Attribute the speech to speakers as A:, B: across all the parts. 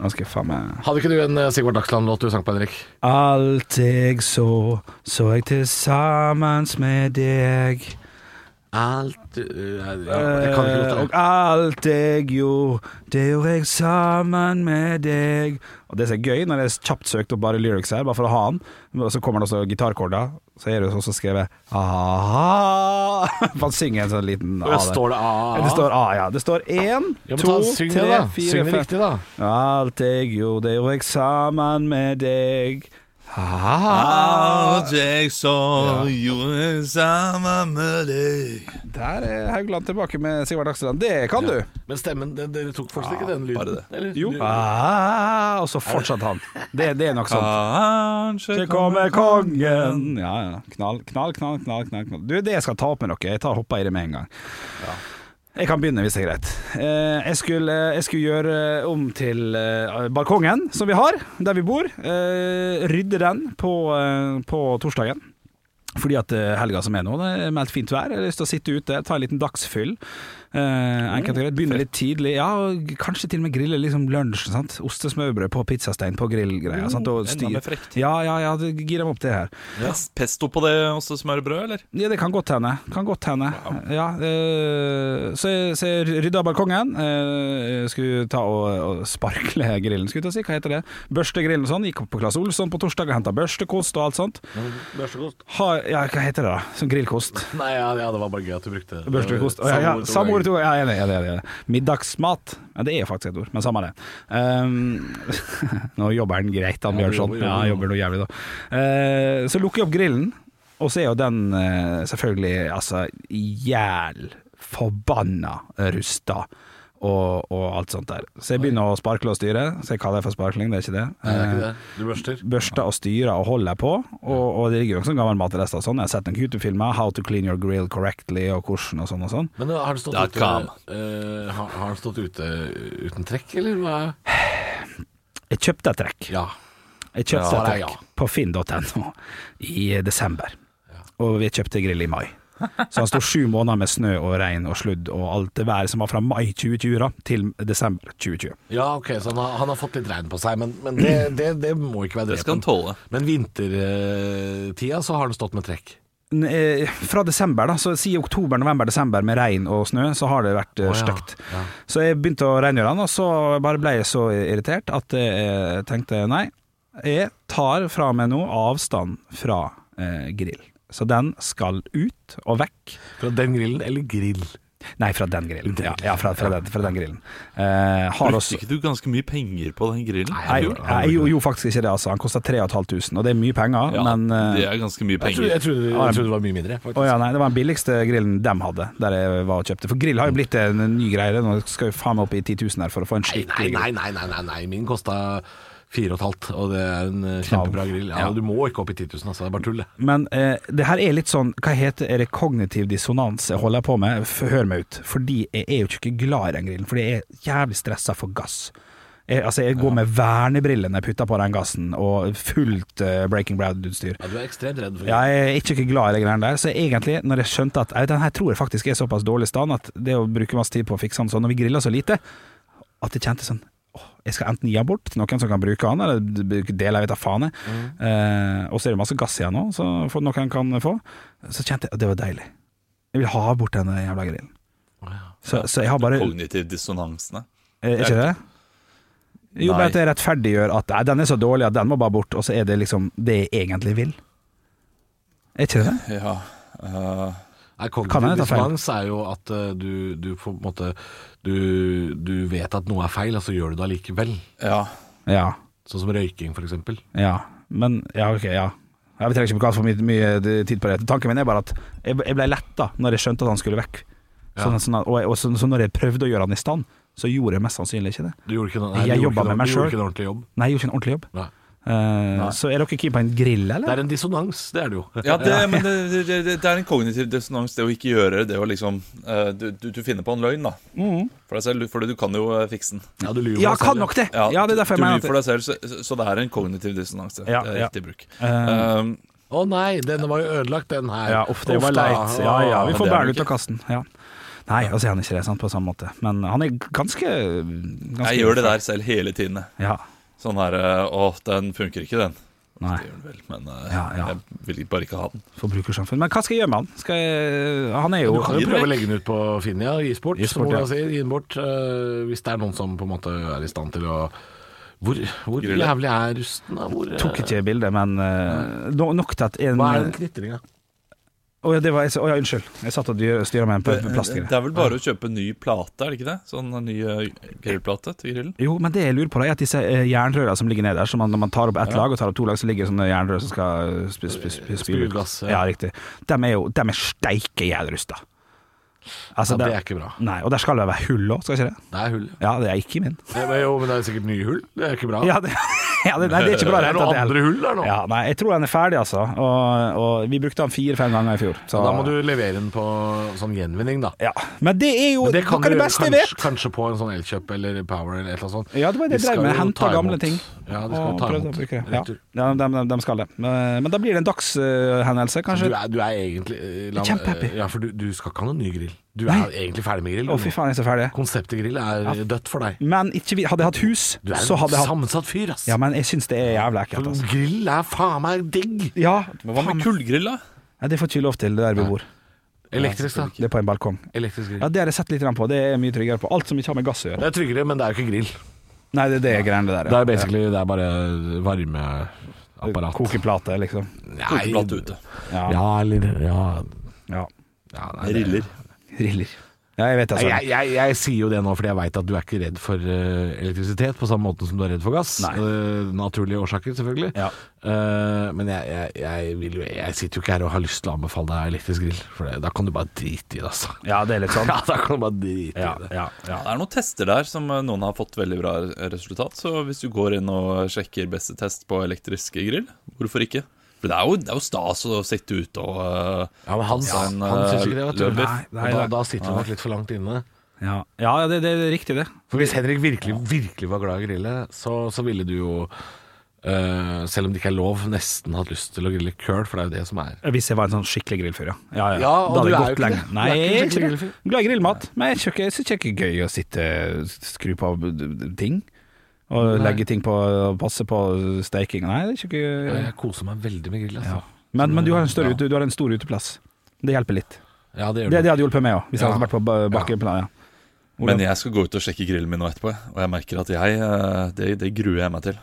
A: Nå skal jeg faen meg
B: Hadde ikke du en eh, Sigvard Dagsland-låt du sang på, Henrik?
A: Alt jeg så, så jeg til sammens med deg.
B: Alt eh, ja, Jeg kan ikke
A: Eh,
B: låta.
A: og alt jeg gjorde, det gjorde jeg sammen med deg. Og Det som er gøy, når det er kjapt søkt opp bare lyrics her, bare for å ha den, og så kommer det også gitarkorder, så er det også skrevet aha. Man synger en sånn liten
B: Og
A: A
B: jeg
A: der.
B: står det
A: Ja,
B: A?
A: Det står A, ja. Det står én,
B: Ja, men
A: to,
B: ta- syng det,
A: tre,
B: da.
A: fire,
B: Syng det
A: fem
B: riktig, da.
A: Alt jeg gjorde, det gjorde jeg sammen med deg. Ah,
C: jeg så gjorde sammen med deg
A: der er Haugland tilbake med Sigvard Dagsland. Det kan du!
B: Men stemmen, den- dere tok fortsatt ikke den lyden?
C: bare det.
B: Eller?
A: Jo. Ah, og så fortsatte han. Det, det er nok sånn.
C: Kanskje
A: Så kommer kongen Ja, ja. Knall, knall, knall, knall. knall, knall. Du, det jeg skal ta opp med dere. Jeg tar hoppa i det med en gang. Jeg kan begynne, hvis det er greit. Eh, Jeg skulle, jeg skulle gjøre om til eh, balkongen som vi har, der vi bor. Eh, Rydde den på, eh, på torsdagen. Fordi at eh, helga som er nå, det er meldt fint vær. Jeg har lyst til å sitte ute, ta en liten dagsfyll. Eh, enkelt og greit. Begynne litt tidlig. Ja, og kanskje til og med grille liksom lunsj. sant? Ostesmørbrød på pizzastein på grillgreier. sant? Og
C: enda
A: styr.
C: mer frekt.
A: Ja, ja, ja, det- gir dem opp det her.
C: Pesto på det også smørbrød, eller?
A: Ja, det kan godt hende. Kan godt hende. Ja, eh, så, jeg, så jeg rydda balkongen. eh, skulle ta og, og sparkle grillen, skulle jeg til å si. Hva heter det? Børste grillen og sånn. Gikk opp på Claes Olsson på torsdag og henta børstekost og alt sånt.
B: Børstekost?
A: Ha, ja, hva heter det da? Sånn grillkost.
B: Nei, ja, ja, det var bare gøy at du brukte
A: Børstekost. Å, ja, ja. Samme ord to ganger. Ja, enig, enig, enig, enig. Middagsmat. Ja, det er faktisk et ord, men samme det. Ehm, nå jobber han greit, han
B: Ja,
A: Bjørnson.
B: jobber, jobber.
A: Ja, han jobber noe jævlig, da. Eh, så lukker jeg opp grillen, og så er jo den eh, selvfølgelig altså jæl forbanna rusta. Og, og alt sånt der. Så jeg begynner å sparkle og styre. Så jeg kaller det for sparkling, det er ikke det.
B: Nei, det er ikke det. Du børster?
A: børster og styrer og holder på, og, og det ligger jo også en gammel matrest og sånn. Jeg har sett noen YouTube-filmer, How to clean your grill correctly og hvordan og sånn og sånn.
B: Men uh, har den stått,
C: Da
B: ute,
C: kom.
B: eh, har, har den stått ute eh, uten trekk, eller hva?
A: Jeg kjøpte et trekk.
B: Ja.
A: Jeg kjøpte
B: Ja,
A: et
B: det er
A: trekk
B: ja.
A: på finn.no i desember, og vi kjøpte grill i mai. Så han sto sju måneder med snø og regn og sludd og alt det været som var fra mai 2020 da, til desember 2020.
B: ja, ok, så han har, han har fått litt regn på seg, men, men det, det, det må ikke være
C: Det skal han
B: drepen.
C: tåle.
B: Men vintertida så har den stått med trekk.
A: N- eh, Fra desember, da, så si oktober, november, desember med regn og snø, så har det vært oh,
B: Å, ja.
A: stygt.
B: Ja.
A: Så jeg begynte å rengjøre den, og så bare ble jeg så irritert at jeg tenkte nei, jeg tar fra meg nå avstand fra eh, grill. Så den skal ut og vekk.
B: Fra den grillen eller grill?
A: Nei, fra den grillen. Ja, ja fra, fra, den, fra den grillen. Eh, har
C: Brukte
A: også
C: ikke du ganske mye penger på den grillen?
A: Nei, jeg gjorde jo faktisk ikke det, altså. Han kosta 3500, og det er mye penger,
C: Ja,
A: men eh,
C: det er ganske mye
B: Jeg trodde,
C: penger.
B: jeg trodde, jeg trodde det var mye mindre, faktisk.
A: Å ja, nei, Det var den billigste grillen de hadde, der jeg var og kjøpte. For grill har jo blitt en ny greie. Nå skal vi faen meg opp i 10 000 her for å få en
B: Nei,
A: skikkelig
B: nei,
A: grill.
B: nei, nei, nei, nei, nei. min kosta fire og et halvt, og det er en eh, kjempebra grill. Ja, Du må ikke opp i 10 000, altså. Det er bare tull, det.
A: Men eh, det her er litt sånn Hva heter er det kognitiv dissonans jeg holder på med? F hør meg ut. Fordi jeg er jo ikke glad i den grillen, fordi jeg er jævlig stressa for gass. Jeg, altså, jeg går med vernebriller når jeg putter på den gassen, og fullt eh, Breaking Brad-utstyr.
B: Ja, du er ekstremt redd for
A: Ja, jeg er ikke ikke glad i de greiene der, så egentlig, når jeg skjønte at «Nei, den her tror jeg faktisk er såpass dårlig stand at det å bruke masse tid på å fikse den sånn, når vi griller så lite, at jeg kjente sånn åh, jeg skal enten gi den bort til noen som kan bruke den, eller d- bruke deler, jeg vet da faen jeg. Eh, og så er det masse gass igjen nå, så for- noen kan få. Så kjente jeg at det var deilig. Jeg vil ha bort den jævla grillen. Så, så jeg har bare
C: Kognitiv dissonansene.
A: Eh, Er ikke det? Jo,
C: Nei.
A: bare at det rettferdiggjør at nei, den er så dårlig at den må bare bort, og så er det liksom det jeg egentlig vil. Er ikke det?
C: Ja. eh,
B: Nei,
A: Kan
B: Kognitiv
A: jeg ta feil?
B: dissonans er jo at eh, du, du på en måte du, du vet at noe er feil, og så gjør du det allikevel.
C: ja.
A: Ja.
B: Sånn som røyking, f.eks.
A: Ja, men Ja, ok, ja. Jeg trenger ikke bruke for mye, mye tid på det. Tanken min er bare at jeg, jeg ble letta når jeg skjønte at han skulle vekk.
B: Ja.
A: Sånn, sånn, at- og jeg, og så, så når jeg prøvde å gjøre han i stand, så gjorde jeg mest sannsynlig ikke det.
B: Du gjorde ikke noe,
A: Jeg
B: du gjorde
A: jobba
B: ikke noe-
A: med meg
B: du gjorde
A: selv.
B: ikke en ordentlig jobb.
A: Nei, jeg gjorde ikke en ordentlig jobb.
B: Nei.
A: Eh, så er dere keen på en grill,
B: Det
A: eller?
B: er en dissonans, det er det jo.
C: ja det, men det, det, det, det er en kognitiv dissonans, det å ikke gjøre det å liksom eh, du, du, du finner på en løgn, da. For deg selv, for du kan jo eh, fikse den.
B: Ja, du lyver
A: Mm. Ja,
B: deg selv,
A: kan nok det! Ja, det er derfor jeg
C: du
A: mener
C: lyver
A: at
C: for deg selv, så, så det er en kognitiv dissonanse.
A: Ja,
C: det er
A: ja.
C: riktig bruk.
A: Eh,
C: Um,
B: Å nei, den var jo ødelagt, den her.
A: Ja, uff, Eh, det var
B: da.
A: leit. Ja, ja, vi
C: Ja,
A: får
C: det er
A: bære
C: det
A: ut av
C: ikke.
A: kassen. Ja. Nei, altså er han ikke det, sant, på samme måte. Men han er ganske, ganske
C: Jeg gjør det der selv hele tiden. jeg.
A: Ja.
C: Sånn her eh, Å, den funker ikke, den.
A: Nei.
C: Det gjør den vel, men eh,
A: Ja, ja.
C: jeg vil bare ikke ha den.
A: Forbrukersamfunn. Men hva skal jeg gjøre med han? Skal jeg, han er jo
B: Du kan jo
C: gi den
B: prøve å
C: vekk.
B: legge den ut på Finn, ja. Gi sport,
A: Gi
B: som
A: sport, ja.
B: Ola sier. Gi den bort. eh, hvis det er noen som på en måte er i stand til å Hvor, hvor
C: Grille.
B: jævlig er rusten? Da? Hvor, eh,
A: Tok ikke eh, bildet, men eh, no, nok til at en
B: hva er den knitringa?
A: Å ja, det var, å ja, unnskyld. Jeg satt og dyr- styra med en
C: Det,
A: pl-
C: det
A: plastgreie.
C: er vel bare å kjøpe ny plate, er det ikke det? Sånn en ny eh, grillplate til grillen.
A: Jo, men det jeg lurer på, da, er at disse eh, jernrøra som ligger nederst, som man, når man tar opp ett lag og tar opp to lag, så ligger det sånne jernrør som skal eh, sp sp sp spyle ut.
B: gass, ja.
A: Ja, riktig. De er jo de er steike jævrusta. Altså,
B: Ja, det
A: der-
B: er ikke bra.
A: Nei, og der skal det være hull òg, skal ikke det?
B: Det er hull.
A: Ja, det er ikke min.
B: Det, men, jo, men det er sikkert nye hull. Det er ikke bra.
A: Ja, det, ja, det, nei, det er ikke bra
B: det er
A: rent at
B: noen
A: det er-
B: andre hull der nå.
A: Ja, nei, jeg tror den er ferdig, altså. Og, og vi brukte den fire-fem ganger i fjor. Så,
B: Da må du levere den på sånn gjenvinning, da.
A: ja. Men det er jo
B: Men
A: det
B: det
A: noe
B: kan
A: av
B: du
A: det
B: gjøre
A: beste jeg
B: kanskje,
A: vet!
B: kanskje på en sånn Elkjøp eller Power eller et eller annet sånt.
A: Ja, det var det
B: De
A: jeg drev
B: skal
A: med.
B: jo
A: Henta
B: ta
A: gamle
B: imot-
A: ting.
B: Ja, de skal
A: Og
B: jo ta
A: prøvde å
B: imot.
A: bruke det. Ja,
B: retur.
A: ja de, de, de skal det. Men men da blir det en dagshendelse,
B: Du
A: kanskje.
B: er, du er egentlig eh, la-
A: Kjempehappy.
B: Ja, for du, du skal ikke ha noen ny grill. Du er
A: Nei.
B: egentlig ferdig med grill.
A: Å, fy faen, jeg er så ferdig.
B: Konseptet grill er dødt for deg.
A: Men ikke, vi- hadde jeg hatt hus,
B: Du er
A: så
B: en
A: hadde jeg hatt
B: sammensatt fyr, ass.
A: Ja, men jeg syns det er jævlig ekkelt, altså.
B: Grill er faen meg digg.
A: Ja,
C: Men hva med
A: faen.
C: kullgrill, da?
A: Nei, det får ikke vi lov til, det der vi bor.
B: Elektrisk, da.
A: Det er på en balkong.
B: Elektrisk grill.
A: Ja, Det har jeg sett litt grann på, det er jeg mye tryggere på. Alt som ikke har med gass å gjøre.
B: Det er tryggere, men det er jo ikke grill.
A: Nei, det er det greiene der.
B: Det
A: ja.
B: er basically det er bare varmeapparat.
A: Kokeplate, liksom.
C: Kokeplate ute.
A: Ja.
B: Ja, eller Ja.
A: ja.
B: ja nei, det-
C: Riller.
A: Riller. Ja, jeg vet det.
B: Nei,
A: Altså.
B: Jeg, jeg, jeg sier jo det nå fordi jeg veit at du er ikke redd for eh, elektrisitet på samme måte som du er redd for gass.
A: Nei.
B: Eh, naturlige årsaker, selvfølgelig.
A: Ja.
B: Eh, men jeg, jeg, jeg, vil jo, jeg sitter jo ikke her og har lyst til å anbefale deg elektrisk grill, for det, da kan du bare drite i det, altså.
A: Ja, det er litt sånn.
B: Ja, da kan du bare drite
A: Ja,
B: i det.
A: ja, ja.
C: Det er noen tester der som eh, noen har fått veldig bra resultat. Så hvis du går inn og sjekker beste test på elektrisk grill, hvorfor ikke? For det er jo, det er jo stas å sitte ute og eh,
B: Ja, men han,
C: Ja,
B: han,
C: en,
B: syns ikke det, vet du.
C: løper.
A: Nei, nei,
B: Og da,
A: nei.
B: da sitter du nok litt for langt inne.
A: Ja, ja det, det er riktig, det.
B: For hvis Henrik virkelig, virkelig var glad i å grille, så, så ville du jo eh, selv om det ikke er lov, nesten hatt lyst til å grille køl, for det er jo det som er
A: Hvis jeg var en sånn skikkelig grillfyr, ja. Ja, ja.
B: Ja, og
A: Da hadde jeg
B: du er
A: gått
B: jo ikke
A: lenge.
B: det. Du er
A: Nei,
B: ikke
A: jeg
B: en
A: er
B: skikkelig
A: ikke det. Glad i grillmat, men jeg syns ikke, jeg synes ikke det er gøy å sitte skru på ting. Og legge ting på passe på steiking. Nei, det er ikke gøy.
B: Jeg koser meg veldig med grill, altså.
A: Men, men du har en større
B: Ja.
A: ute, du har en stor uteplass. Det hjelper litt.
B: Ja, det gjør
A: Det,
B: det.
A: det hadde hjulpet meg òg, hvis jeg
B: Ja.
A: hadde vært på ba- bakkeplan. Ja. Hvordan-
C: Men jeg skal gå ut og sjekke grillen min nå etterpå, jeg. og jeg merker at jeg eh, Det, det gruer jeg meg til.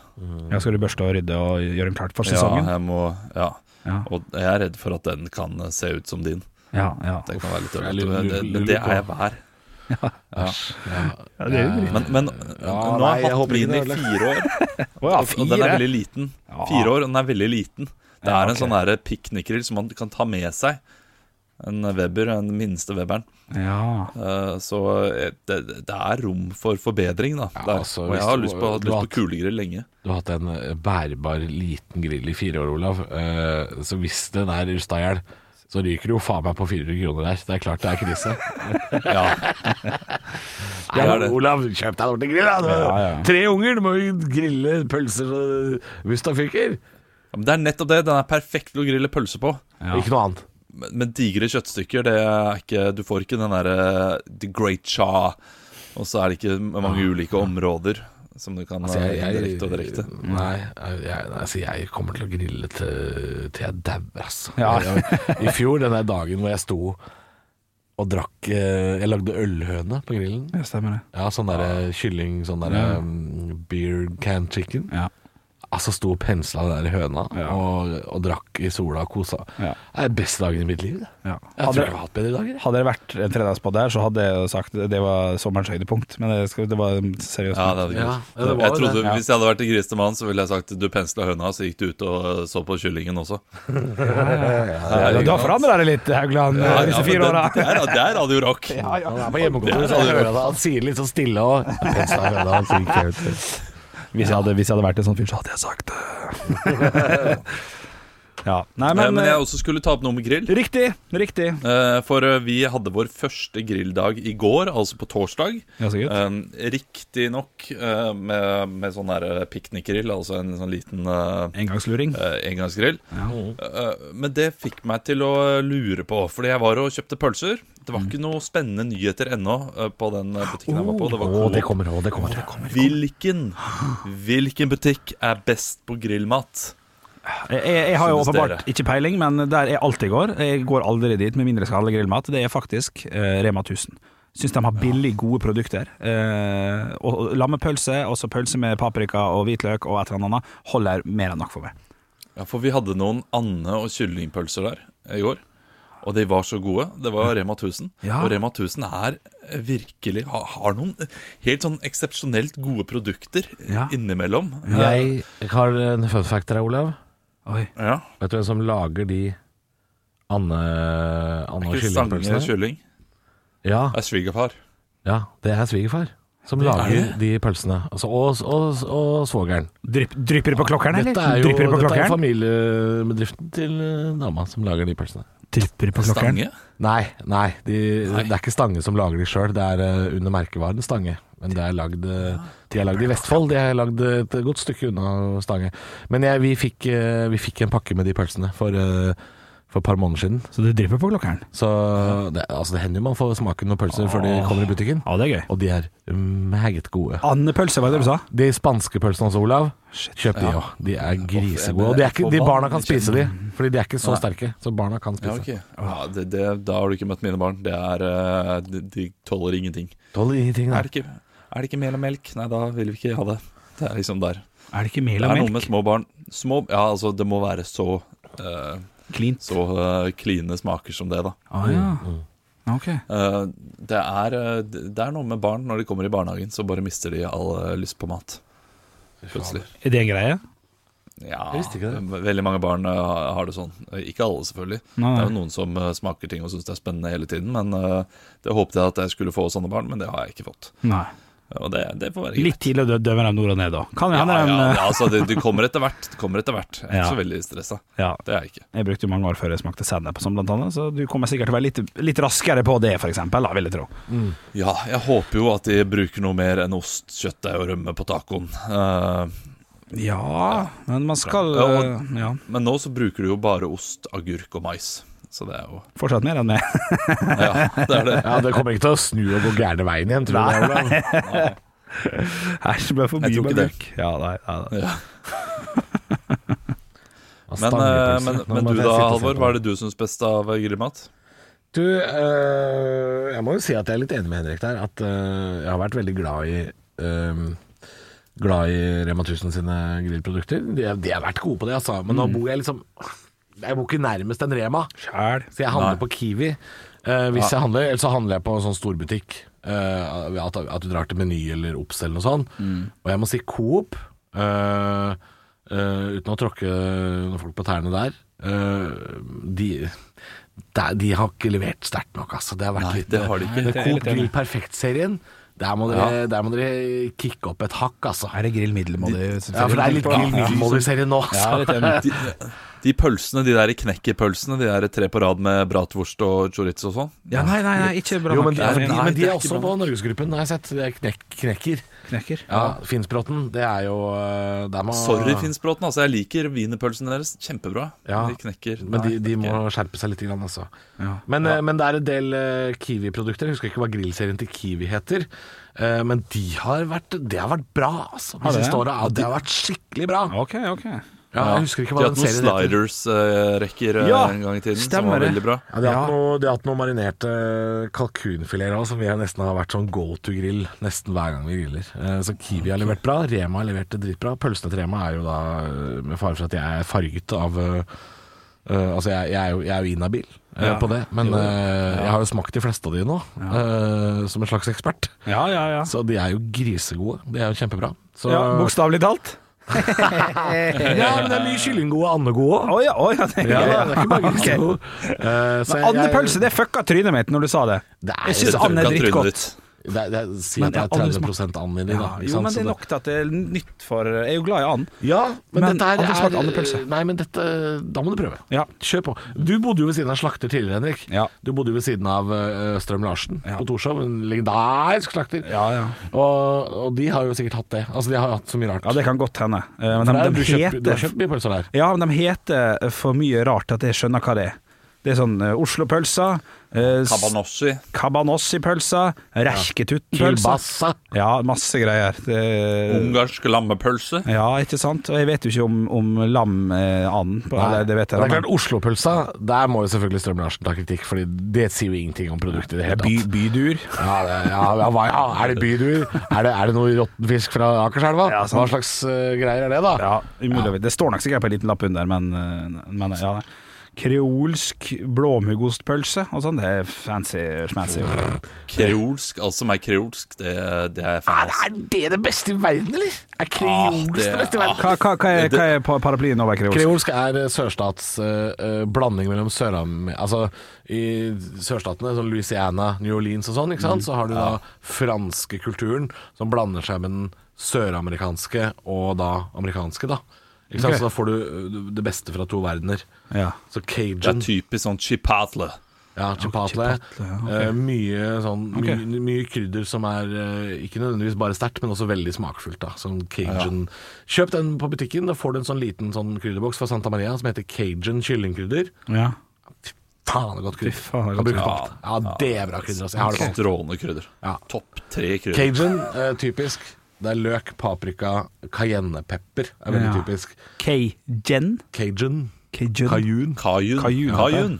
A: Ja, skal du børste og rydde og gjøre den klart for
C: Ja,
A: sesongen?
C: jeg må Ja.
A: Ja,
C: Og jeg er redd for at den kan se ut som din.
A: ja. ja.
C: Det kan være litt
B: jeg lurer-
C: ødelagt. men det-
B: lurer
C: Men det
B: på-
C: er jeg hver.
A: Ja, det er jo
C: Men, men
B: Ja,
C: nå har
B: nei,
C: jeg
B: jeg
C: hatt
B: håper ikke
C: min i
B: det er
C: fire år,
A: Å ja,
C: og den er
A: fire?
C: veldig liten.
A: Ja.
C: Fire år, og den er veldig liten. Det
A: Ja,
C: er en
A: ok.
C: sånn her piknikgrill som man kan ta med seg. En Weber, den minste Weberen.
A: Ja.
C: Eh, Så eh, det, det er rom for forbedring, da.
B: Ja,
C: Der.
B: altså,
C: og
B: hvis
C: jeg har
B: du-
C: lyst på, hatt
B: du
C: lyst
B: har
C: på kulegrill lenge.
B: Du har hatt en eh, bærbar liten grill i fire år, Olav. Eh, Så hvis den er rusta i hjel, så ryker du jo faen meg på 400 kroner der. Det er klart det er krise.
C: Ja,
B: Nei,
C: er det.
B: Olav, kjøp deg en ordentlig grill, da. Du har
A: Ja, ja.
B: Tre unger, du må jo grille pølser og mustafyker.
C: men Det er nettopp det. Den er perfekt til å grille pølse på.
B: Ikke noe annet.
C: Men, men digre kjøttstykker, det er ikke Du får ikke den derre eh, The Great Cha. Og så er det ikke mange ulike områder som du kan
B: Altså, jeg-
C: eh,
B: jeg- Mm.
C: direkte og direkte.
B: Nei, jeg, jeg, altså, jeg kommer til å grille til, til jeg dauer, altså.
A: Ja.
B: Jeg- I fjor, den der dagen hvor jeg sto og drakk eh, Jeg lagde ølhøne på grillen.
A: Ja, stemmer det.
B: Ja, sånn derre kylling, sånn derre
A: Ja.
B: um, beer can chicken.
A: Ja.
B: Altså sto og pensla den der høna
A: Ja.
B: og, og drakk i sola og kosa.
A: Ja.
B: Det er den beste dagen i mitt liv. det.
A: Ja.
B: Jeg tror ikke jeg har hatt bedre dager. jeg.
A: Hadde det vært en fredagspod der, så hadde jeg sagt det var sommerens høydepunkt. Men det, skal, det var seriøst.
C: Ja, det hadde
B: Ja,
C: gått.
B: ja, det var
C: jeg
B: jo
C: trodde
B: det, ja.
C: Hvis jeg hadde vært en grisete mann, så ville jeg sagt du pensla høna, så gikk du ut og eh, så på kyllingen også.
A: Ja, du har forandra deg litt, Haugland,
C: Ja, ja,
A: disse
C: men
A: fire
C: det-
A: åra.
C: Det er, det er Radio Rock.
B: Han er på hjemmekontoret, så jeg hører at han sier litt så stille og pensla høna. og så gikk jeg ut.
A: Hvis, jeg hadde- hvis jeg hadde vært en sånn fyr, så hadde jeg sagt det. Ja. Nei,
C: Men,
A: men,
C: Eh, men jeg også skulle ta opp noe med grill.
A: eh, Riktig, riktig.
C: Eh, For eh, vi hadde vår første grilldag i går, altså på torsdag.
A: Ja, så gutt.
C: Um, Riktignok uh, med, med sånn der eh, piknikgrill, altså en sånn liten eh,
A: Engangsluring.
C: eh, engangsgrill.
A: Ja.
C: Eh, men det fikk meg til å eh, lure på, fordi jeg var og kjøpte pølser. Det
B: Mm.
C: var ikke noe spennende nyheter ennå eh, på den eh, butikken jeg var på. Det var Coop.
B: kommer, å, det kommer.
C: Hvilken, hvilken butikk er best på grillmat?
A: Jeg, jeg har jo
C: Synes
A: åpenbart
C: dere.
A: ikke peiling, men der jeg alltid går Jeg går aldri dit med mindre jeg skal handle grillmat. Det er faktisk eh, Rema 1000. Syns de har billig gode produkter. Eh, og, og lammepølse, også pølse med paprika og hvitløk og et eller annet, holder mer enn nok for meg.
C: Ja, For vi hadde noen ande- og kyllingpølser der eh, i går. Og de var så gode. Det var Rema 1000.
A: Ja.
C: Og Rema 1000 er virkelig har, har noen helt sånn eksepsjonelt gode produkter
A: Ja.
C: innimellom.
B: Jeg har en fun fact her, Olav.
A: Oi.
C: Ja.
B: Vet du hvem som lager de ande... ande- og
C: Ikke Stange
B: kyllingpølsene?
C: kylling.
B: Ja,
C: Det er svigerfar.
B: ja, det er svigerfar som lager de pølsene. Altså, og, og, og svogeren.
A: Drypp- Drypper det på klokkeren, eller?
B: Dette er jo
A: Drypper det på
B: dette er
A: klokkeren?
B: familiebedriften til eh, dama som lager de pølsene.
A: Drypper det på klokkeren?
C: Stange?
B: Nei, nei, de, det er ikke Stange som lager de sjøl. Det er eh, under merkevaren Stange. Men det er lagd, eh,
A: Ah.
B: de er lagd i Vestfold. De er lagd et godt stykke unna Stange. Men jeg, vi, fikk, eh, vi fikk en pakke med de pølsene for eh, for et par måneder siden.
A: Så det drypper på klokkeren?
B: Så det, altså det hender jo man får smake noen pølser før de kommer i butikken.
A: Ja, det er gøy.
B: Og de er mm, meget gode.
A: Andepølse, var det du sa?
B: De spanske pølsene hans, Olav, kjøp de òg. De er grisegode. Og de, er ikke, de barna kan spise de, fordi de er ikke så sterke. Så barna kan
C: Ja,
B: spise.
C: ok. Ja, det, det, da har du ikke møtt mine barn. Det er, eh, de, de tåler ingenting.
B: Tåler ingenting,
C: Er
B: da.
C: det, ikke, er det ikke mel og melk? Nei, da vil vi ikke ha det. Det er liksom der.
A: Er det ikke mel
C: Det er
A: og
C: noe med
A: melk?
C: små barn. Små, ja, altså, det må være så eh,
A: Klint.
C: så eh, kline smaker som det, da.
A: Å Ah, ja. Ok.
C: Eh, det, er, eh, det er noe med barn når de kommer i barnehagen, så bare mister de all eh, lyst på mat. Plutselig.
A: Er det en greie?
C: Ja,
B: Jeg visste ikke det.
C: ve- veldig mange barn eh, har har det sånn. Eh, Ikke alle, selvfølgelig.
A: Nei,
C: Det
A: nei.
C: er jo noen som eh, smaker ting og syns det er spennende hele tiden. Men eh, Det håpet jeg at jeg skulle få sånne barn, men det har jeg ikke fått.
A: Nei.
C: Og det, det får være greit.
A: Litt tidlig å dø- dømme dem nord og ned, da. Kan
C: Ja,
A: hende
C: ja,
A: ja,
C: ja, altså, det, det kommer etter hvert. Det kommer etter hvert. Jeg er
A: eh, Ja.
C: ikke så veldig stressa.
A: ja.
C: Det er jeg ikke.
A: Jeg brukte jo mange år før jeg smakte sennep, som blant annet, så du kommer sikkert til å være litt, litt raskere på det, for eksempel, da, vil jeg tro.
C: Ja, jeg håper jo at de bruker noe mer enn ost, kjøttdeig og rømme på tacoen. Eh,
A: Ja, men man skal
C: Ja, og-
A: øh,
B: eh,
A: ja,
C: men nå så bruker du jo bare ost, agurk og mais. Så det er jo
A: fortsatt mer enn meg.
C: Ja, det er det.
B: Ja, det kommer ikke til å snu og gå gærne veien igjen, tror jeg. Olav.
A: Æsj, bør forbi
C: Jeg tror ikke det.
A: agurk. Ja, nei, nei, nei.
C: Ja. Men, eh,
B: Stangepølse.
C: men,
B: Nå
C: men
B: må
C: du
B: jeg
C: da,
B: sitte og se
C: Halvor,
B: på
C: hva er det du syns best av eh, grillmat?
B: Du, eh, jeg må jo si at jeg er litt enig med Henrik der. At eh, jeg har vært veldig glad i eh, Glad i Rema 1000 sine grillprodukter. De, er- de har vært gode på det, altså. Men nå
C: Mm.
B: bor jeg liksom Jeg bor ikke nærmest en Rema,
A: Sjæl.
B: så jeg handler på Kiwi. Eh, hvis jeg handler, eller så handler jeg på en sånn storbutikk. eh, at, at du drar til Meny eller Obs eller noe sånt.
C: Mm.
B: Og jeg må si Coop, eh, eh, uten å tråkke noen folk på tærne der. eh, de, der, de har ikke levert sterkt nok, altså. Det har vært
C: Nei,
B: litt
C: det har de ikke.
B: Men
A: Det er jeg litt enig
B: Coop
A: i.
B: Grill Perfekt-serien, der, må dere- der må dere kicke opp et hakk, altså.
A: Er det grill middelmådig?
B: Ja, for det er litt Grill Middelmådig-serie nå,
A: Ja,
B: altså.
A: litt enig.
C: De, de pølsene, de der knekkerpølsene, de der tre på rad med bratwurst og chorizo og sånn.
A: Ja, nei, nei, nei, ikke bra
B: Jo, men,
A: nok.
B: de,
A: Jeg er
B: men
C: Nei,
B: de, men
C: det
B: de
C: er
B: er
C: ikke
B: også
C: bra
B: på Norgesgruppen, har jeg sett. Det er knek, knekker.
A: knekker.
B: Ja, Finnsbråten, det er jo eh, der må,
C: Sorry, Finnsbråten. Altså, jeg liker wienerpølsene deres kjempebra.
B: Ja,
C: De knekker.
B: Men de,
C: Nei,
B: de må
C: ikke.
B: skjerpe seg litt, grann, altså.
A: Ja.
B: Men, eh, men det er en del eh, Kiwi-produkter. Jeg Husker ikke hva grillserien til Kiwi heter. Eh, Men de har vært, det har vært bra, altså.
A: Har
B: De
A: det?
B: siste åra. Ja, det har vært skikkelig bra.
A: OK, OK.
B: Ja, jeg husker ikke
C: De
B: hva den
C: har hatt noen
B: serien heter.
C: sliders-rekker
A: Ja,
C: eh, en gang i tiden som
A: stemmer
C: var
A: det.
C: veldig bra.
B: Ja, de, har hatt noe, de har hatt noen marinerte kalkunfileter også, som vi har nesten har vært sånn go to grill nesten hver gang vi griller. Eh, Så Kiwi har levert bra, Rema har levert det dritbra. Pølsene til Rema er jo da, eh, med fare for at jeg er farget av eh, eh, altså, jeg, jeg, er jo, jeg er jo inhabil eh,
A: Ja.
B: på det, men eh, jeg har jo smakt de fleste av de nå, eh, som en slags ekspert.
A: Ja, ja, ja.
B: Så de er jo grisegode. De er jo kjempebra. Så,
A: ja Bokstavelig talt.
B: ja, men det er mye kyllinggode og andegode òg.
A: Å ja, å ja. det er
B: Ja,
A: gøy.
B: det er ikke bare grisegode. Eh, så jeg- jeg-
A: Andepølse, det fucka trynet mitt når du sa det.
B: Det er-
A: Jeg syns and er
C: Tørka trynet
A: drittgodt.
C: ditt.
B: Det, er- det, er- si
A: Men
B: at det
A: jeg har aldri
B: er 30 and inni, da.
A: Ja,
B: ikke
A: jo,
B: sant?
A: men
B: Så
A: det er nok til at det er nytt for Jeg er jo glad i and.
B: Ja,
A: Men
B: men, dette her
A: aldri smakt
B: er
A: andepølse.
B: Nei, men dette Da må du prøve.
A: Ja.
B: Kjør på. Du bodde jo ved siden av slakter tidligere, Henrik.
A: Ja.
B: Du bodde jo ved siden av eh, Strøm Larsen
A: Ja.
B: på Torshov. En legendarisk slakter.
A: Ja, ja.
B: Og, og de har jo sikkert hatt det. Altså, de har hatt så mye rart.
A: Ja, det kan godt hende. Eh, Men de,
B: For der har
A: de
B: du, kjøpt, du har
A: heter
B: kjøpt mye pølser der.
A: Ja, men de heter eh, for mye rart at jeg skjønner hva det er. Det er sånn uh, Oslo-pølsa, uh,
C: Kabanossi.
A: kabanossi-pølsa, Rerketutten-pølsa.
B: Kilbassa.
A: Ja, masse greier.
B: Eh.
A: Det,
C: Ungarsk lammepølse.
A: ja, ikke sant? Og jeg vet jo ikke om, om lam eh, and på- eller Det vet jeg
B: det er
A: men-
B: klart, Oslo-pølsa, der må jo selvfølgelig Strøm Larsen ta kritikk, Fordi det sier jo ingenting om produktet i
A: Det
B: det
A: er
B: hele
A: by,
B: tatt.
A: bydur.
B: Ja, det, ja, ja, hva, ja, er det byduer? Er det, er det noe råttenfisk fra Akerselva?
A: Ja,
B: Hva
A: sant.
B: slags eh, greier er det, da?
A: Ja, umulig å vite. Det står nok sikkert på en liten lapp under, men, eh, men ja. nei. Kreolsk blåmuggostpølse og sånn. Det er fancy schmancy.
C: Kreolsk. Alt som er kreolsk, det, det er jeg
B: Er,
C: fan
B: er
C: av.
B: Ah, det det beste i verden, eller? Er kreolsk
C: Ah,
B: det,
C: det-
B: beste i verden?
A: Hva, hva, hva, er, hva er pa- paraplyen over kreolsk?
B: Kreolsk er eh, sørstats eh, eh, blanding mellom Sør-Am... Altså i sørstatene, sånn Louisiana, New Orleans og sånn, ikke
C: Mm.
B: sant? Så har du da franske kulturen som blander seg med den søramerikanske og da amerikanske, da. Ikke sant?
A: Ok.
B: Så da får du eh, det beste fra to verdener.
A: Ja.
B: Så
C: Det er
B: cajun
C: typisk sånn chipatle.
B: Ja, chipotle.
A: chipotle, ja, ok.
B: Eh, mye, sånn,
A: Ok.
B: mye, mye krydder som er eh, ikke nødvendigvis bare sterkt, men også veldig smakfullt. da Sånn cajun Kjøp den på butikken, da får du en sånn liten sånn krydderboks fra Santa Maria som heter cajun kyllingkrydder.
A: Ja.
B: Fy faen, det er godt krydder.
A: Fy faen, det er
B: kan
A: godt
B: bruke på
C: krydder.
B: alt. Ja, det er bra krydder. Altså. Jeg har det på alt.
C: Strålende krydder.
B: Ja.
C: Topp tre krydder.
B: Cajun, eh, typisk. Det er løk, paprika, cayennepepper er veldig
A: Ja.
B: typisk.
A: Cajun.
B: Cajun,
A: Cajun.
B: cajun.
C: Cajun.
A: Cajun.
C: Cajun.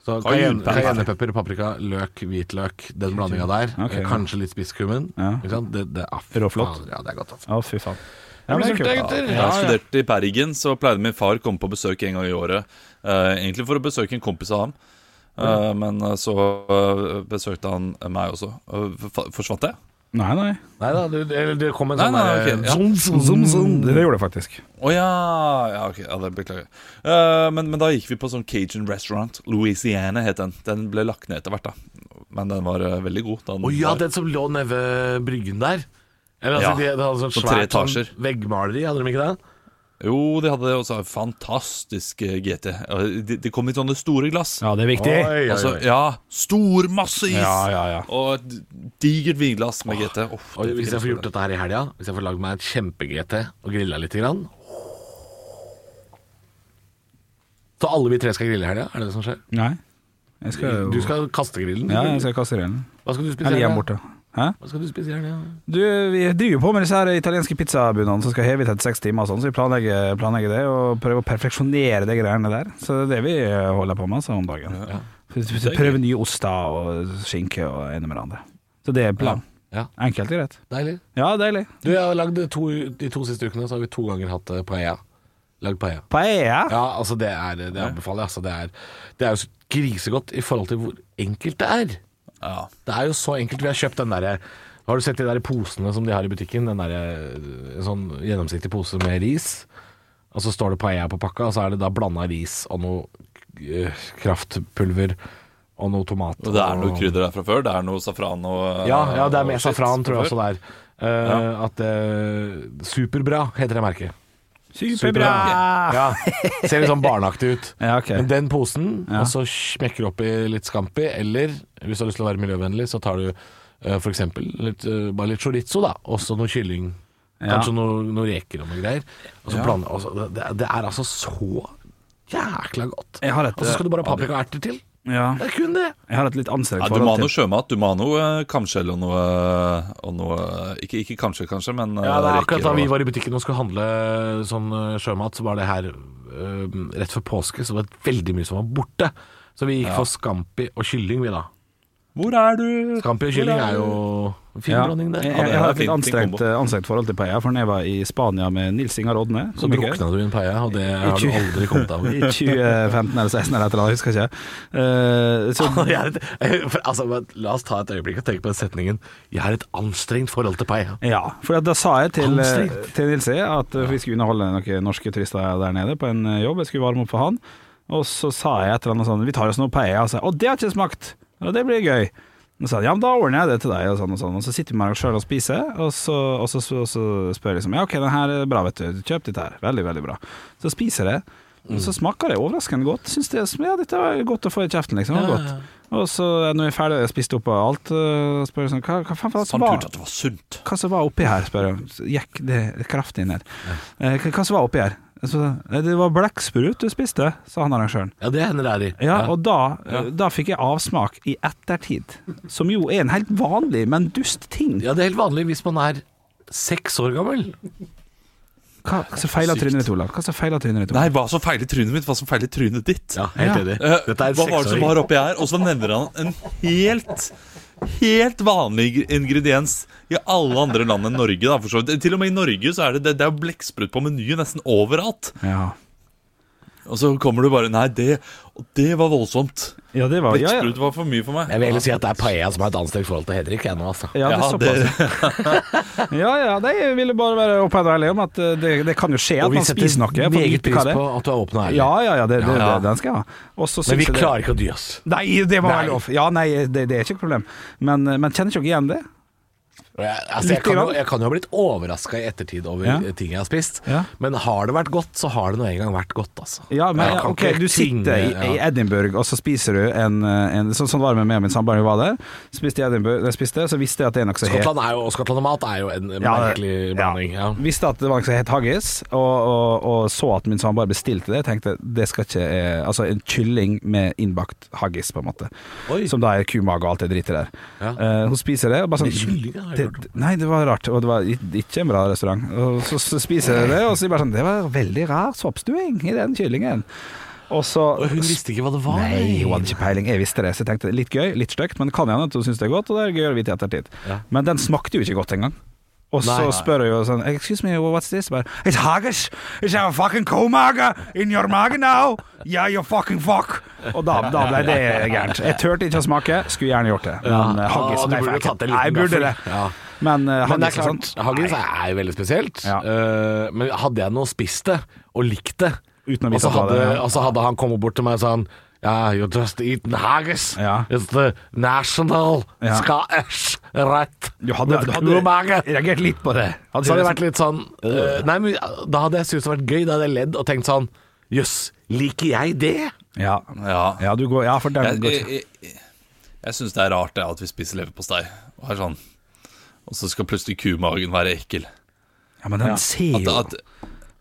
B: Så
C: Cayenne-
B: cayenne- Cayennepepper, paprika, løk, hvitløk. Den blandinga der.
A: Ok,
B: Eh,
A: ja.
B: Kanskje litt spisskummen.
A: Ja.
B: Ikke sant? Det, det ah,
A: Råflott.
B: fader, Ja, det er godt. Altså.
A: Å, fy faen. Ja, men det er
B: Sulta,
A: kult.
B: gutter.
C: Da jeg studerte i Bergen, så pleide min far å komme på besøk en gang i året. Eh, egentlig for å besøke en kompis av ham,
B: Mm.
C: Eh, men eh, så eh, besøkte han meg også. Eh, fa- forsvant jeg?
A: Nei, nei.
B: Nei da, du, eller det kom en
C: Nei,
B: sånn
C: nei,
B: der-
C: ok, ja.
B: zoom, zoom,
A: Zoom, zoom. Mm, Det gjorde det faktisk.
C: Å ja. ja, ok, ja, det beklager jeg. Eh, men, men da gikk vi på sånn Cajun restaurant. Louisiana het den. Den ble lagt ned etter hvert, da. Men den var eh, veldig god. da Den
B: Å ja,
C: var-
B: den som lå nede ved bryggen der. Eller, altså,
C: Ja,
B: de, det hadde sånn
C: på
B: svært
C: tre
B: sånn
C: etasjer.
B: veggmaleri, hadde de ikke det?
C: Jo, de hadde også en fantastisk eh, GT. Eh, De, de kom i sånne store glass.
A: Ja, det er viktig.
B: Oi, oi,
C: Altså,
B: oi.
C: ja, stor masse is!
A: Ja, ja, ja.
C: Og et digert vinglass med GT. Uff,
B: Og
C: det
B: hvis
C: fikk
B: jeg får
C: lyst
B: gjort dette her i helga, hvis jeg får lagd meg et kjempe-GT og grilla litt grann. Så alle vi tre skal grille i helga, er det det som skjer?
A: Nei. Jeg skal
B: Du skal kaste grillen?
A: Ja, jeg skal kaste grillen.
B: Hva skal du spise i
A: Eller
B: helga?
A: hjemme borte. Hæ?
B: Hva skal du spise i helga?
A: Du, vi driver jo på med disse her italienske pizzabunadene som skal heve i 36 timer og sånn, så vi planlegger, planlegger det og prøver å perfeksjonere de greiene der. Så det er det vi holder på med altså, om dagen. Prøve nye oster og skinke og ene med det andre. Så det er planen.
B: Ja.
A: Enkelt og greit.
B: Deilig.
A: Ja, deilig.
B: Du, jeg har lagd to, De to siste ukene så har vi to ganger hatt eh, paella. Lagd paella.
A: Paella.
B: Ja, altså det er Det anbefaler jeg. Altså det, er, det er jo så grisegodt i forhold til hvor enkelt det er.
C: på det. Ja.
B: Det er jo så enkelt. Vi har kjøpt den derre Har du sett de der posene som de har i butikken? Den derre eh, sånn gjennomsiktig pose med ris. Og så står det paella på pakka, og så er det da blanda ris og noe eh, kraftpulver og noe tomat.
C: Og det er noe krydder der fra før? Det er noe safran og
B: Ja, ja,
A: Eh,
B: det er
C: og
B: med
C: shit
B: safran, tror
C: fra
B: jeg også
C: før.
B: det er. Eh, At det Superbra heter det merket.
A: Superbra!
B: Ja, Ser litt sånn barneaktig ut.
A: Ah. Ja, ok.
B: Men den posen,
A: Ja.
B: og så smekker du oppi litt scampi, eller hvis du har lyst til å være miljøvennlig, så tar du eh, for eksempel litt, eh, bare litt chorizo, da. Og så noe kylling.
A: Ja.
B: Kanskje noe, noe reker og noe greier. Og så blande, og så, det, det er altså så jækla godt.
A: Jeg har et,
B: og så Altså, skal du bare ha paprikaerter til.
A: Ja,
B: Det er kun det.
A: jeg har et litt anstrengt
C: Ja, du må ha
A: forhold
C: noe
A: til
C: sjømat. Du må ha noe eh, kamskjell og noe, og noe Ikke, ikke kamskjell, kanskje, men eh,
B: Ja, det er
C: reker
B: akkurat da
C: og-
B: vi var i butikken og skulle handle sånn eh, sjømat, så var det her eh, rett før påske, så det var veldig mye som var borte. Så vi gikk for scampi og kylling, vi da.
C: Hvor er du?
B: Scampi og
C: Hvor
B: kylling
C: er
B: er jo en fin
A: ja.
B: blanding,
A: Jeg,
B: det.
A: jeg, jeg har et litt
C: Fin- fin
A: anstrengt, eh,
C: kombo.
A: anstrengt forhold til paella, for da jeg var i Spania med Nils Ingar Odne
B: Så
A: komiker.
B: drukna du i en paella, og det har du
A: tjue-
B: aldri kommet av.
A: I 2015 eller 16 eller et eller annet, jeg husker ikke. Eh, så,
B: Jeg er et- for, altså, men la oss ta et øyeblikk og tenke på den setningen 'Jeg har et anstrengt forhold til paella'.
A: ja, for at da sa jeg til,
B: Hamstring.
A: til Nils E at vi skulle underholde noen norske turister der nede på en eh, jobb, jeg skulle varme opp for han. Og så sa jeg et eller annet sånn Vi tar oss noe paella. Og så sa jeg, å, det har ikke smakt. Og det blir gøy. Og så sa han, ja, men da ordner jeg det til deg, og sånn og sånn. Og så sitter vi med oss sjøl og spiser, og så, og, så, og så spør jeg liksom ja, ok, den her er bra, vet du, kjøp ditt her. Veldig, veldig bra. Så spiser jeg, og så smaker det overraskende godt. Syns det ja, dette var godt å få i kjeften, liksom. Det var godt. Og så eh, når jeg er ferdig, jeg spiste opp av alt, øh, spør jeg sånn, hva, hva faen var det som
C: Fant
A: var
C: ut at det var sunt.
A: hva som var oppi her, spør jeg. Så Gikk det kraftig ned. Eh, hva- Hva som var oppi her? Så, «Nei, det var blekksprut du spiste, sa han arrangøren.
B: Ja, det hender det er i.
A: Ja, og da, eh, da fikk jeg avsmak i ettertid, som jo er en helt vanlig, men dust ting.
B: ja, det er helt vanlig hvis man er seks år gammel.
A: Hva hva som feiler
C: Sykt.
A: trynet ditt, Olav? Hva som feiler trynet ditt? Olav?
C: Nei, hva som feiler trynet mitt, hva som feiler trynet ditt.
B: Ja, helt
A: Ja.
B: enig.
C: Eh,
B: Dette er
C: hva var det som var
B: seksåring.
C: oppi her? Og så nevner han en helt Helt vanlig ingrediens i alle andre land enn Norge. Da, for så vidt. Til og med i Norge så er det, det, det er blekksprut på menyen nesten overalt.
A: Ja.
C: Og så kommer du bare Nei, det, og det var voldsomt.
A: ja, det var ja, ja.
C: Blekksprut var for mye for meg.
B: Jeg vil heller si at det er Paella som har et anstrengt forhold til Henrik. Jeg nå, altså.
A: Ja, det er
C: Ja, det-
A: såpass. Ja, ja, nei, jeg ville bare være åpen og ærlig om at eh, det, det kan jo skje at
B: Og vi
A: man spiser noe.
B: setter
A: får
B: meget
A: vite hva
B: pris
A: det er.
B: på at du er åpen og ærlig.
A: Ja, ja, ja, det, det,
C: Ja.
A: det, den skal jeg ha. Og så
B: Men
A: syns
B: vi
A: jeg det-
B: klarer ikke å dy oss.
A: Nei, det var
B: Nei.
A: lov. Ja, nei, det, det er ikke et problem. Men, eh, men kjenner ikke dere igjen det?
B: Og Jeg, altså, jeg,
A: Litt
B: kan jo,
A: grann.
B: jeg kan jo ha blitt overraska i ettertid over
A: Ja.
B: eh, ting jeg har spist,
A: Ja.
B: men har det vært godt, så har det nå en gang vært godt, altså.
A: Ja, men
B: Jeg
A: ja,
B: kan
A: ok,
B: ikke
A: du
B: tvinge-
A: sitter i, i
B: ja.
A: Edinburgh, og så spiser du en, en sånn, sånn var det med meg og min samboer, vi var der. Spiste i Edinburgh, nei, spiste, så visste jeg at det er noe som het
B: Skottland, er jo, og Skottland og mat er jo en
A: Ja, det-
B: merkelig
A: ja.
B: blanding. Ja.
A: Visste at det var noe som het haggis, og, og, og så at min samboer bestilte det. Tenkte det skal ikke eh, Altså en kylling med innbakt haggis, på en måte.
B: Oi.
A: Som da er kumage og alt det dritet der.
B: Ja.
A: Eh, hun spiser det, og bare sånn
B: Men kylling, det har jeg
A: det,
B: hørt om.
A: Nei, det var rart, og det var i- ikke en bra restaurant. Og så, så spiser jeg det, og så bare sånn Det var veldig rar soppstuing i den kyllingen. Og så
B: Og hun visste ikke hva det var.
A: Nei, hun hadde ikke peiling. Jeg visste det, så jeg tenkte litt gøy, litt stygt, men det kan hende at hun syns det er godt, og det er gøy å vite i ettertid.
B: Ja.
A: Men den smakte jo ikke godt engang. Og
B: Nei,
A: så
B: nei.
A: spør jeg jo sånn Excuse me, what's this? Bare, It's haggis! It's a fucking komaga in your maga now! Yeah, you fucking fuck! Og da, da ble det gærent. Jeg turte ikke å smake, skulle gjerne gjort det. Men eh, haggis
B: Ah, du
A: nei,
B: burde
A: fuck
B: tatt
A: it.
B: en liten
A: Nei, jeg burde det.
B: gaffel. Ja.
A: Men eh,
B: Men det er
A: haggis og
B: klart,
A: sånt
B: haggis er jo veldig spesielt.
A: Ja.
B: Eh, men hadde jeg nå spist det, og likt det,
A: Uten å
B: og
A: vite
B: så
A: at det var
B: hadde,
A: det, ja.
B: og så hadde han kommet bort til meg og sånn Yeah, you just eaten haggis.
A: Ja.
B: It's the national
A: Ja.
B: Scottish right.
A: Du hadde,
B: with
A: du
B: Kumaga."
A: hadde reagert litt på det.
B: Så hadde det vært litt sånn eh, Nei, men da hadde jeg syntes det hadde vært gøy. Da hadde jeg ledd og tenkt sånn Jøss, liker jeg det?
A: ja.
C: Ja.
A: ja, du går Ja, for den
C: Jeg,
A: går ikke.
C: jeg, jeg, jeg syns det er rart det, at vi spiser leverpostei, og er sånn Og så skal plutselig kumagen være ekkel.
A: Ja, men den ser
C: At,
A: jo
C: at,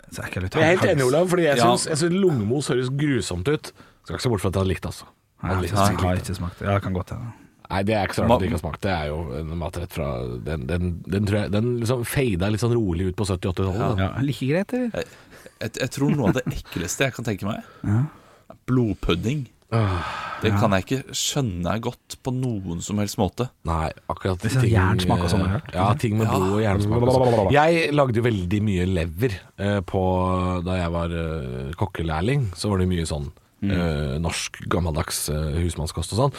A: så ekkel ut.
B: Jeg er helt enig, Olav, fordi jeg
C: Ja.
B: syns, jeg syns lungemos høres grusomt ut. Skal ikke se bort fra at jeg hadde likt det, altså.
A: Nei,
B: Hadde
A: jeg har
B: likt det.
A: ikke- jeg har ikke smakt det. Ja, det kan godt hende.
B: Nei, det er ikke så
C: Ma-
B: rart at du ikke har smakt. Det er jo en matrett fra Den, den, den tror jeg Den liksom fada litt sånn rolig ut på 70-80-tallet. da.
A: Ja. Like greit, eller?
C: jeg, jeg tror noe av det ekleste jeg kan tenke meg, er blodpudding.
B: Ah,
C: Det kan jeg ikke skjønne er godt på noen som helst måte.
B: Nei, akkurat eh,
A: er sånn jernsmak og sånn, har jeg hørt.
B: Ja, ting med blod og jernsmak. og sånn. Jeg lagde jo veldig mye lever eh, på Da jeg var eh, kokkelærling, så var det mye sånn eh, norsk, gammeldags eh, husmannskost og sånn.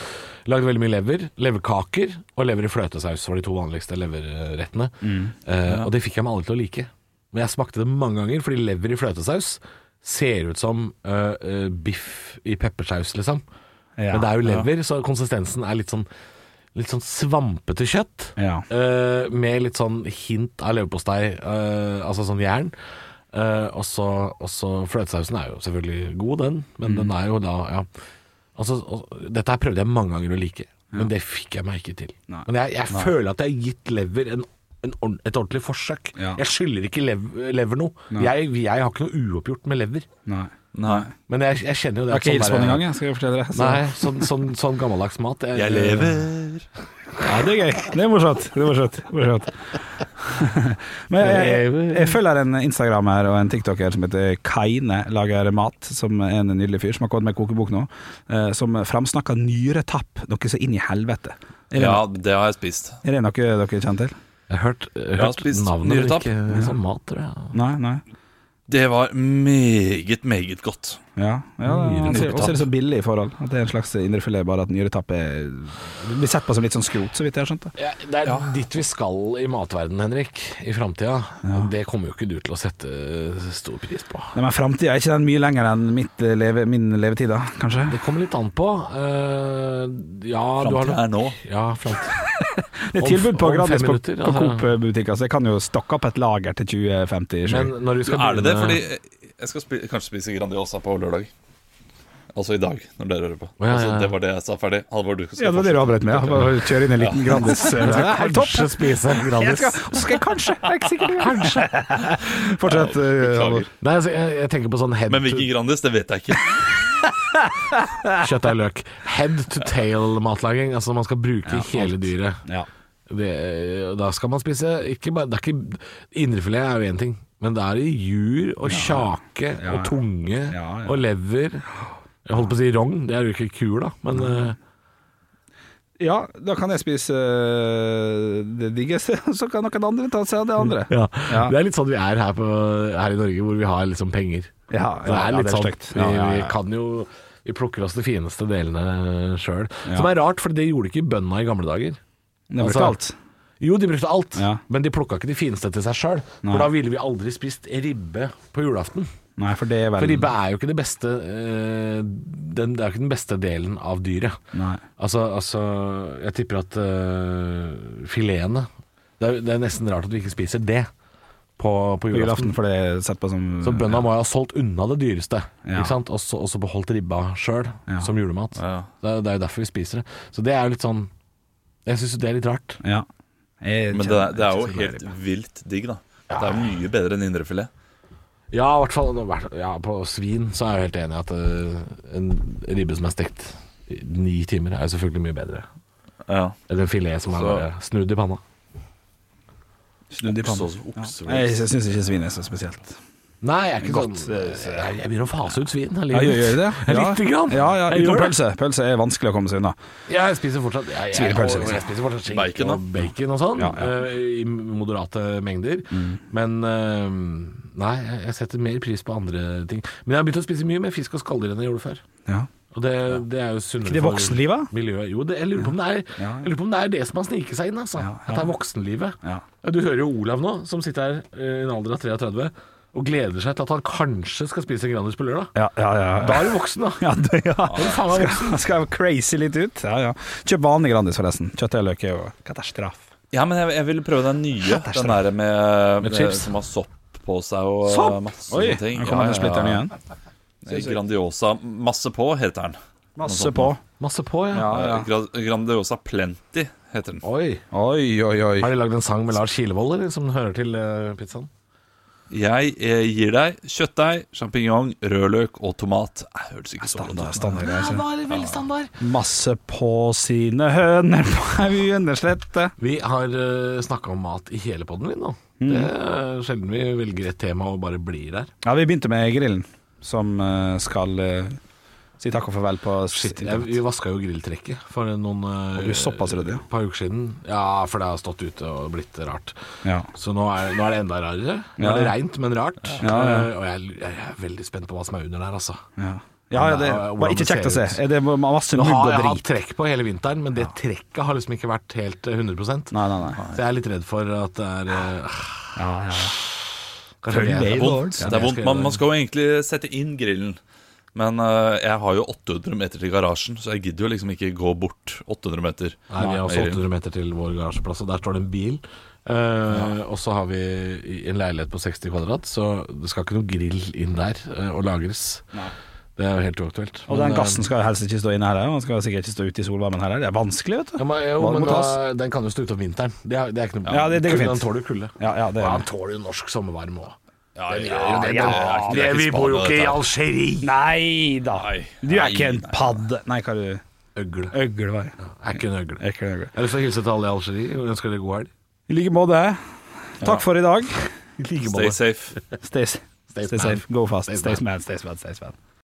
B: Lagde veldig mye lever. Leverkaker og lever i fløtesaus var de to vanligste leverrettene. Eh, Og det fikk jeg meg aldri til å like. Men jeg smakte det mange ganger, fordi lever i fløtesaus ser ut som eh, eh, biff i peppersaus, liksom.
A: Ja,
B: Men det er jo lever, så konsistensen er litt sånn Litt sånn svampete kjøtt.
A: Ja.
B: eh, med litt sånn hint av leverpostei, eh, altså sånn jern. Eh, og så og så fløtesausen er jo selvfølgelig god, den, men
A: Mm.
B: den er jo da ja. altså, og, Dette her prøvde jeg mange ganger å like, men det fikk jeg meg ikke til.
A: Nei.
B: Men jeg, jeg føler at jeg har gitt lever en, en, ord- et ordentlig forsøk.
A: Ja.
B: Jeg skylder ikke lev, lever noe. Jeg, jeg har ikke noe uoppgjort med lever.
A: Nei.
C: Nei.
B: Men jeg, jeg kjenner jo Sånn det
A: Jeg har ikke hilst på den
B: der-
A: engang, jeg skal jeg fortelle deg. Så-
B: Nei, sånn, sånn, sånn gammeldags mat. Jeg,
C: Jeg lever.
A: Ja, det er gøy. Det er morsomt. Det er morsomt. morsomt. Men jeg, jeg, jeg følger en instagrammer og en tiktoker som heter Kaine Lager Mat, som er en nydelig fyr som har kommet med kokebok nå, eh, som framsnakker nyretapp, noe så inn i helvete. Er det,
C: Ja, det har jeg spist.
A: er det noe dere kjenner til?
B: Jeg har hørt, jeg har
C: har
B: hørt
C: spist
B: navnet, men
C: nyretapp.
B: ikke som mat, tror sånn jeg.
A: Nei, nei.
C: Det var meget, meget godt.
A: Ja, ja Og så er det så billig i forhold. At det er en slags indrefilet, bare at nyretapp er blir sett på som litt sånn skrot, så vidt jeg har skjønt. det
B: Ja, det er dit vi skal i matverdenen, Henrik, i framtida. Det kommer jo ikke du til å sette stor pris på.
A: Nei, men framtida er ikke den mye lenger enn mitt eh, leve, min levetid, da, kanskje?
B: Det kommer litt an på. Eh, ja, du har
C: Framtida
B: nok-
C: er nå.
B: Ja, framtida.
A: Det er
B: Om-
A: tilbud på
B: om
A: Gradis
B: fem
A: på,
B: minutter,
A: på
B: altså.
A: Coop-butikker, så jeg kan jo stokke opp et lager til 2050.
B: Men
A: Men,
B: når vi skal
C: Er det det?
B: begynne-
C: Fordi eh, jeg skal spi kanskje spise Grandiosa på lørdag. Altså i dag, når dere hører på.
B: Å, ja, ja, ja.
C: Altså, det var det jeg sa ferdig. Halvor, du skal
A: ja, det var det du avbrøt med. ja. Bare Kjøre inn en liten Grandis. eh,
B: Det er
A: helt topp.
B: Kanskje spise en
A: Jeg
B: Grandis.
A: skal, så skal jeg kanskje, jeg er ikke sikker. Kanskje. Fortsett. eh, Halvor.
C: Beklager.
B: Nei, altså, jeg, jeg tenker på sånn head
C: Men
B: to
C: hvilken Grandis, det vet jeg ikke.
B: kjøttdeig løk. Head to tail-matlaging. Altså man skal bruke hele dyret.
A: Ja.
B: Det, da skal man spise ikke bare, det er ikke, Indrefilet er jo én ting, men det er i jur og kjake og tunge
A: ja.
B: og lever. Jeg holdt på å si rogn, det er jo ikke kur, da, men eh,
A: ja, da kan jeg spise eh, det diggeste, så kan noen andre ta seg av det andre.
B: ja.
A: Ja.
B: Det er litt sånn vi er her, på, her i Norge, hvor vi har liksom penger.
A: Ja,
B: det
A: ja,
B: er
A: ja,
B: litt sånn.
A: stygt.
B: Vi,
A: Ja, ja,
B: vi
A: ja.
B: kan jo Vi plukker oss de fineste delene sjøl. Som er rart, for det gjorde ikke bøndene i gamle dager.
A: Det er
B: Altså-
A: brutalt.
B: Jo, de brukte alt,
A: Ja.
B: men de plukka ikke de fineste til seg sjøl.
A: Nei.
B: For da ville vi aldri spist ribbe på julaften.
A: Nei, for det er
B: For
A: vel
B: ribbe er jo ikke det beste eh, den, Det er jo ikke den beste delen av dyret.
A: Nei.
B: Altså, altså Jeg tipper at eh, filetene det er, det er nesten rart at vi ikke spiser det på, på
A: På julaften,
B: julaften.
A: for det er sett på som
B: Så bøndene må jo ha solgt unna det dyreste,
A: Ja.
B: ikke sant? Og så og så beholdt ribba sjøl
A: Ja.
B: som julemat.
C: Ja.
B: Det, er, det er jo derfor vi spiser det. Så det er jo litt sånn Jeg syns jo det er litt rart.
A: Ja. Jeg
C: Men det er, det er jo
A: kjenner ikke så
C: helt
A: veldig.
C: vilt digg, da. Det er mye bedre enn indrefilet.
B: Ja, i hvert fall ja, på svin så er jeg jo helt enig i at eh, en ribbe som er stekt i ni timer, er jo selvfølgelig mye bedre.
C: Ja.
B: Eller en filet som er
C: Så-
B: bare snudd i panna.
C: Snudd i panna. Okse,
A: Ja. Jeg syns ikke svin er så spesielt.
B: Nei, jeg er ikke
A: Godt. eh,
B: sånn Jeg, jeg begynner å fase ut svin. Jeg,
A: Ja,
B: liker
A: gjør, gjør det?
B: Jeg likte grann.
A: Ja, ja,
B: Jeg
A: Utenom
B: gjør det.
A: pølse. Pølse er vanskelig å komme seg unna.
B: jeg spiser fortsatt jeg, jeg,
A: Svinepølse,
B: og-
A: liksom.
B: Jeg spiser fortsatt skinke
C: Bacon, da.
B: og bacon og sånn,
A: Ja, Mm. ja.
B: eh, i moderate mengder. Men eh, nei, jeg- jeg setter mer pris på andre ting. Men jeg har begynt å spise mye mer fisk og skalldyr enn jeg gjorde før.
A: Ja.
B: Og det, det er jo sunnere
A: Ikke det voksenlivet?
B: miljøet. Jo, det, jeg, lurer på om det er,
A: Ja, ja.
B: jeg lurer på om det er det som har sniket seg inn, altså.
A: Ja,
B: At det er voksenlivet.
A: Ja.
B: Ja, Du hører jo Olav nå, som sitter her eh, i en alder av 33 og gleder seg til at han kanskje skal spise en Grandis på lørdag.
A: Ja, ja, ja.
B: Da er du voksen, da.
A: ja, det, ja.
B: faen er
A: Skal, skal jeg crazy litt ut? Ja, ja. Kjøp vanlig Grandis, forresten. Kjøttdeig og løk er jo katastrof.
C: Ja, men jeg, jeg ville prøve den nye.
A: er
C: Den der med, eh,
B: Med chips?
C: Som har sopp på seg og eh,
A: Sopp?
C: masse
A: Sånn! Oi,
C: sånne ting.
A: nå kommer den splitteren igjen.
C: Eh, Grandiosa Masse på heter den.
A: Masse på.
B: Masse på, ja.
A: Ja, ja.
C: Eh, Gra- Grandiosa Plenty heter den.
B: Oi.
A: Oi, oi, oi.
B: Har de lagd en sang med Lars Kilevold, eller, som hører til eh, pizzaen?
C: Jeg eh, gir deg kjøttdeig, sjampinjong, rødløk og tomat. Nei, det hørtes ikke sånn ut.
A: Standard,
C: da.
A: standard greier.
B: var veldig standard.
A: Masse på sine høner på haugen, slette.
B: Vi har uh, snakka om mat i hele podden din nå.
A: Mm.
B: Det er sjelden vi velger et tema og bare blir der.
A: Ja, vi begynte med grillen, som eh, skal eh, si takk og farvel på
B: Shit,
A: sitt
B: jeg, vi vaska jo grilltrekket for noen eh,
A: Og du er såpass ryddig, ja.
B: par uker siden. Ja, for det har stått ute og blitt rart.
A: Ja.
B: Så nå er, nå er det enda rarere. Nå
A: Ja.
B: er det reint, men rart.
A: Ja, ja.
B: Eh, og jeg, jeg er veldig spent på hva som er under der, altså.
A: Ja, ja, ja det
B: Hvordan
A: var ikke
B: det
A: kjekt å
B: ser
A: se.
B: ut.
A: Er Det var masse
B: Nå
A: mugg
B: har
A: og
B: jeg hatt
A: drit.
B: trekk på hele vinteren, men det trekket har liksom ikke vært helt eh, 100
A: Nei, nei, nei.
B: Så jeg er litt redd for at det er eh,
A: Ja, ja.
B: kanskje
A: Følg
B: det
A: med i
B: er-
A: vår.
C: Vondt.
B: Ja, jeg
C: Det er vondt.
B: skal
C: Man,
B: gjøre
C: man
B: det.
C: skal jo egentlig sette inn grillen. Men eh, jeg har jo 800 meter til garasjen, så jeg gidder jo liksom ikke gå bort 800 meter.
B: Nei, vi har også
C: Nei.
B: 800 meter til vår garasjeplass, og der står det en bil. Eh, Og så har vi i- en leilighet på 60 kvadrat, så det skal ikke noe grill inn der eh, og lagres. Det er jo helt uaktuelt.
A: Og
B: Men,
A: den
B: eh,
A: gassen skal jo helst ikke stå inne her, og den skal sikkert ikke stå ute i solvarmen heller. Det er vanskelig, vet
B: ja,
A: du.
B: men, jo,
A: Hva
B: men
A: må
B: da, den kan jo stå ute om vinteren. Det er, det er ikke noe
A: Ja, det- det går
B: Kulden,
A: fint.
B: Den tåler jo kulde.
A: Ja, ja, det
B: Og
A: er
B: han tåler jo norsk sommervarme òg.
C: Ja, ja,
B: det,
C: ja,
B: det-
C: det er ikke- det er
B: vi
C: ikke
B: bor jo
C: Spania,
B: ikke i
C: dette her.
B: Algerie!
A: Nei da.
C: Nei.
A: Du er ikke en
C: Nei, nei.
A: padde. Nei, hva er du?
B: Øgle.
A: Øgle, var jeg.
B: Er ikke en øgle. Jeg
A: Ekle øgle.
B: har lyst til å hilse til alle i Algerie og ønske dere god helg.
A: I like måte. Takk for i dag.
B: I like
C: Stay safe.
A: Stay, stay
B: man.
A: safe. Go fast.
B: Stay
A: Stay man, stay man, stay man.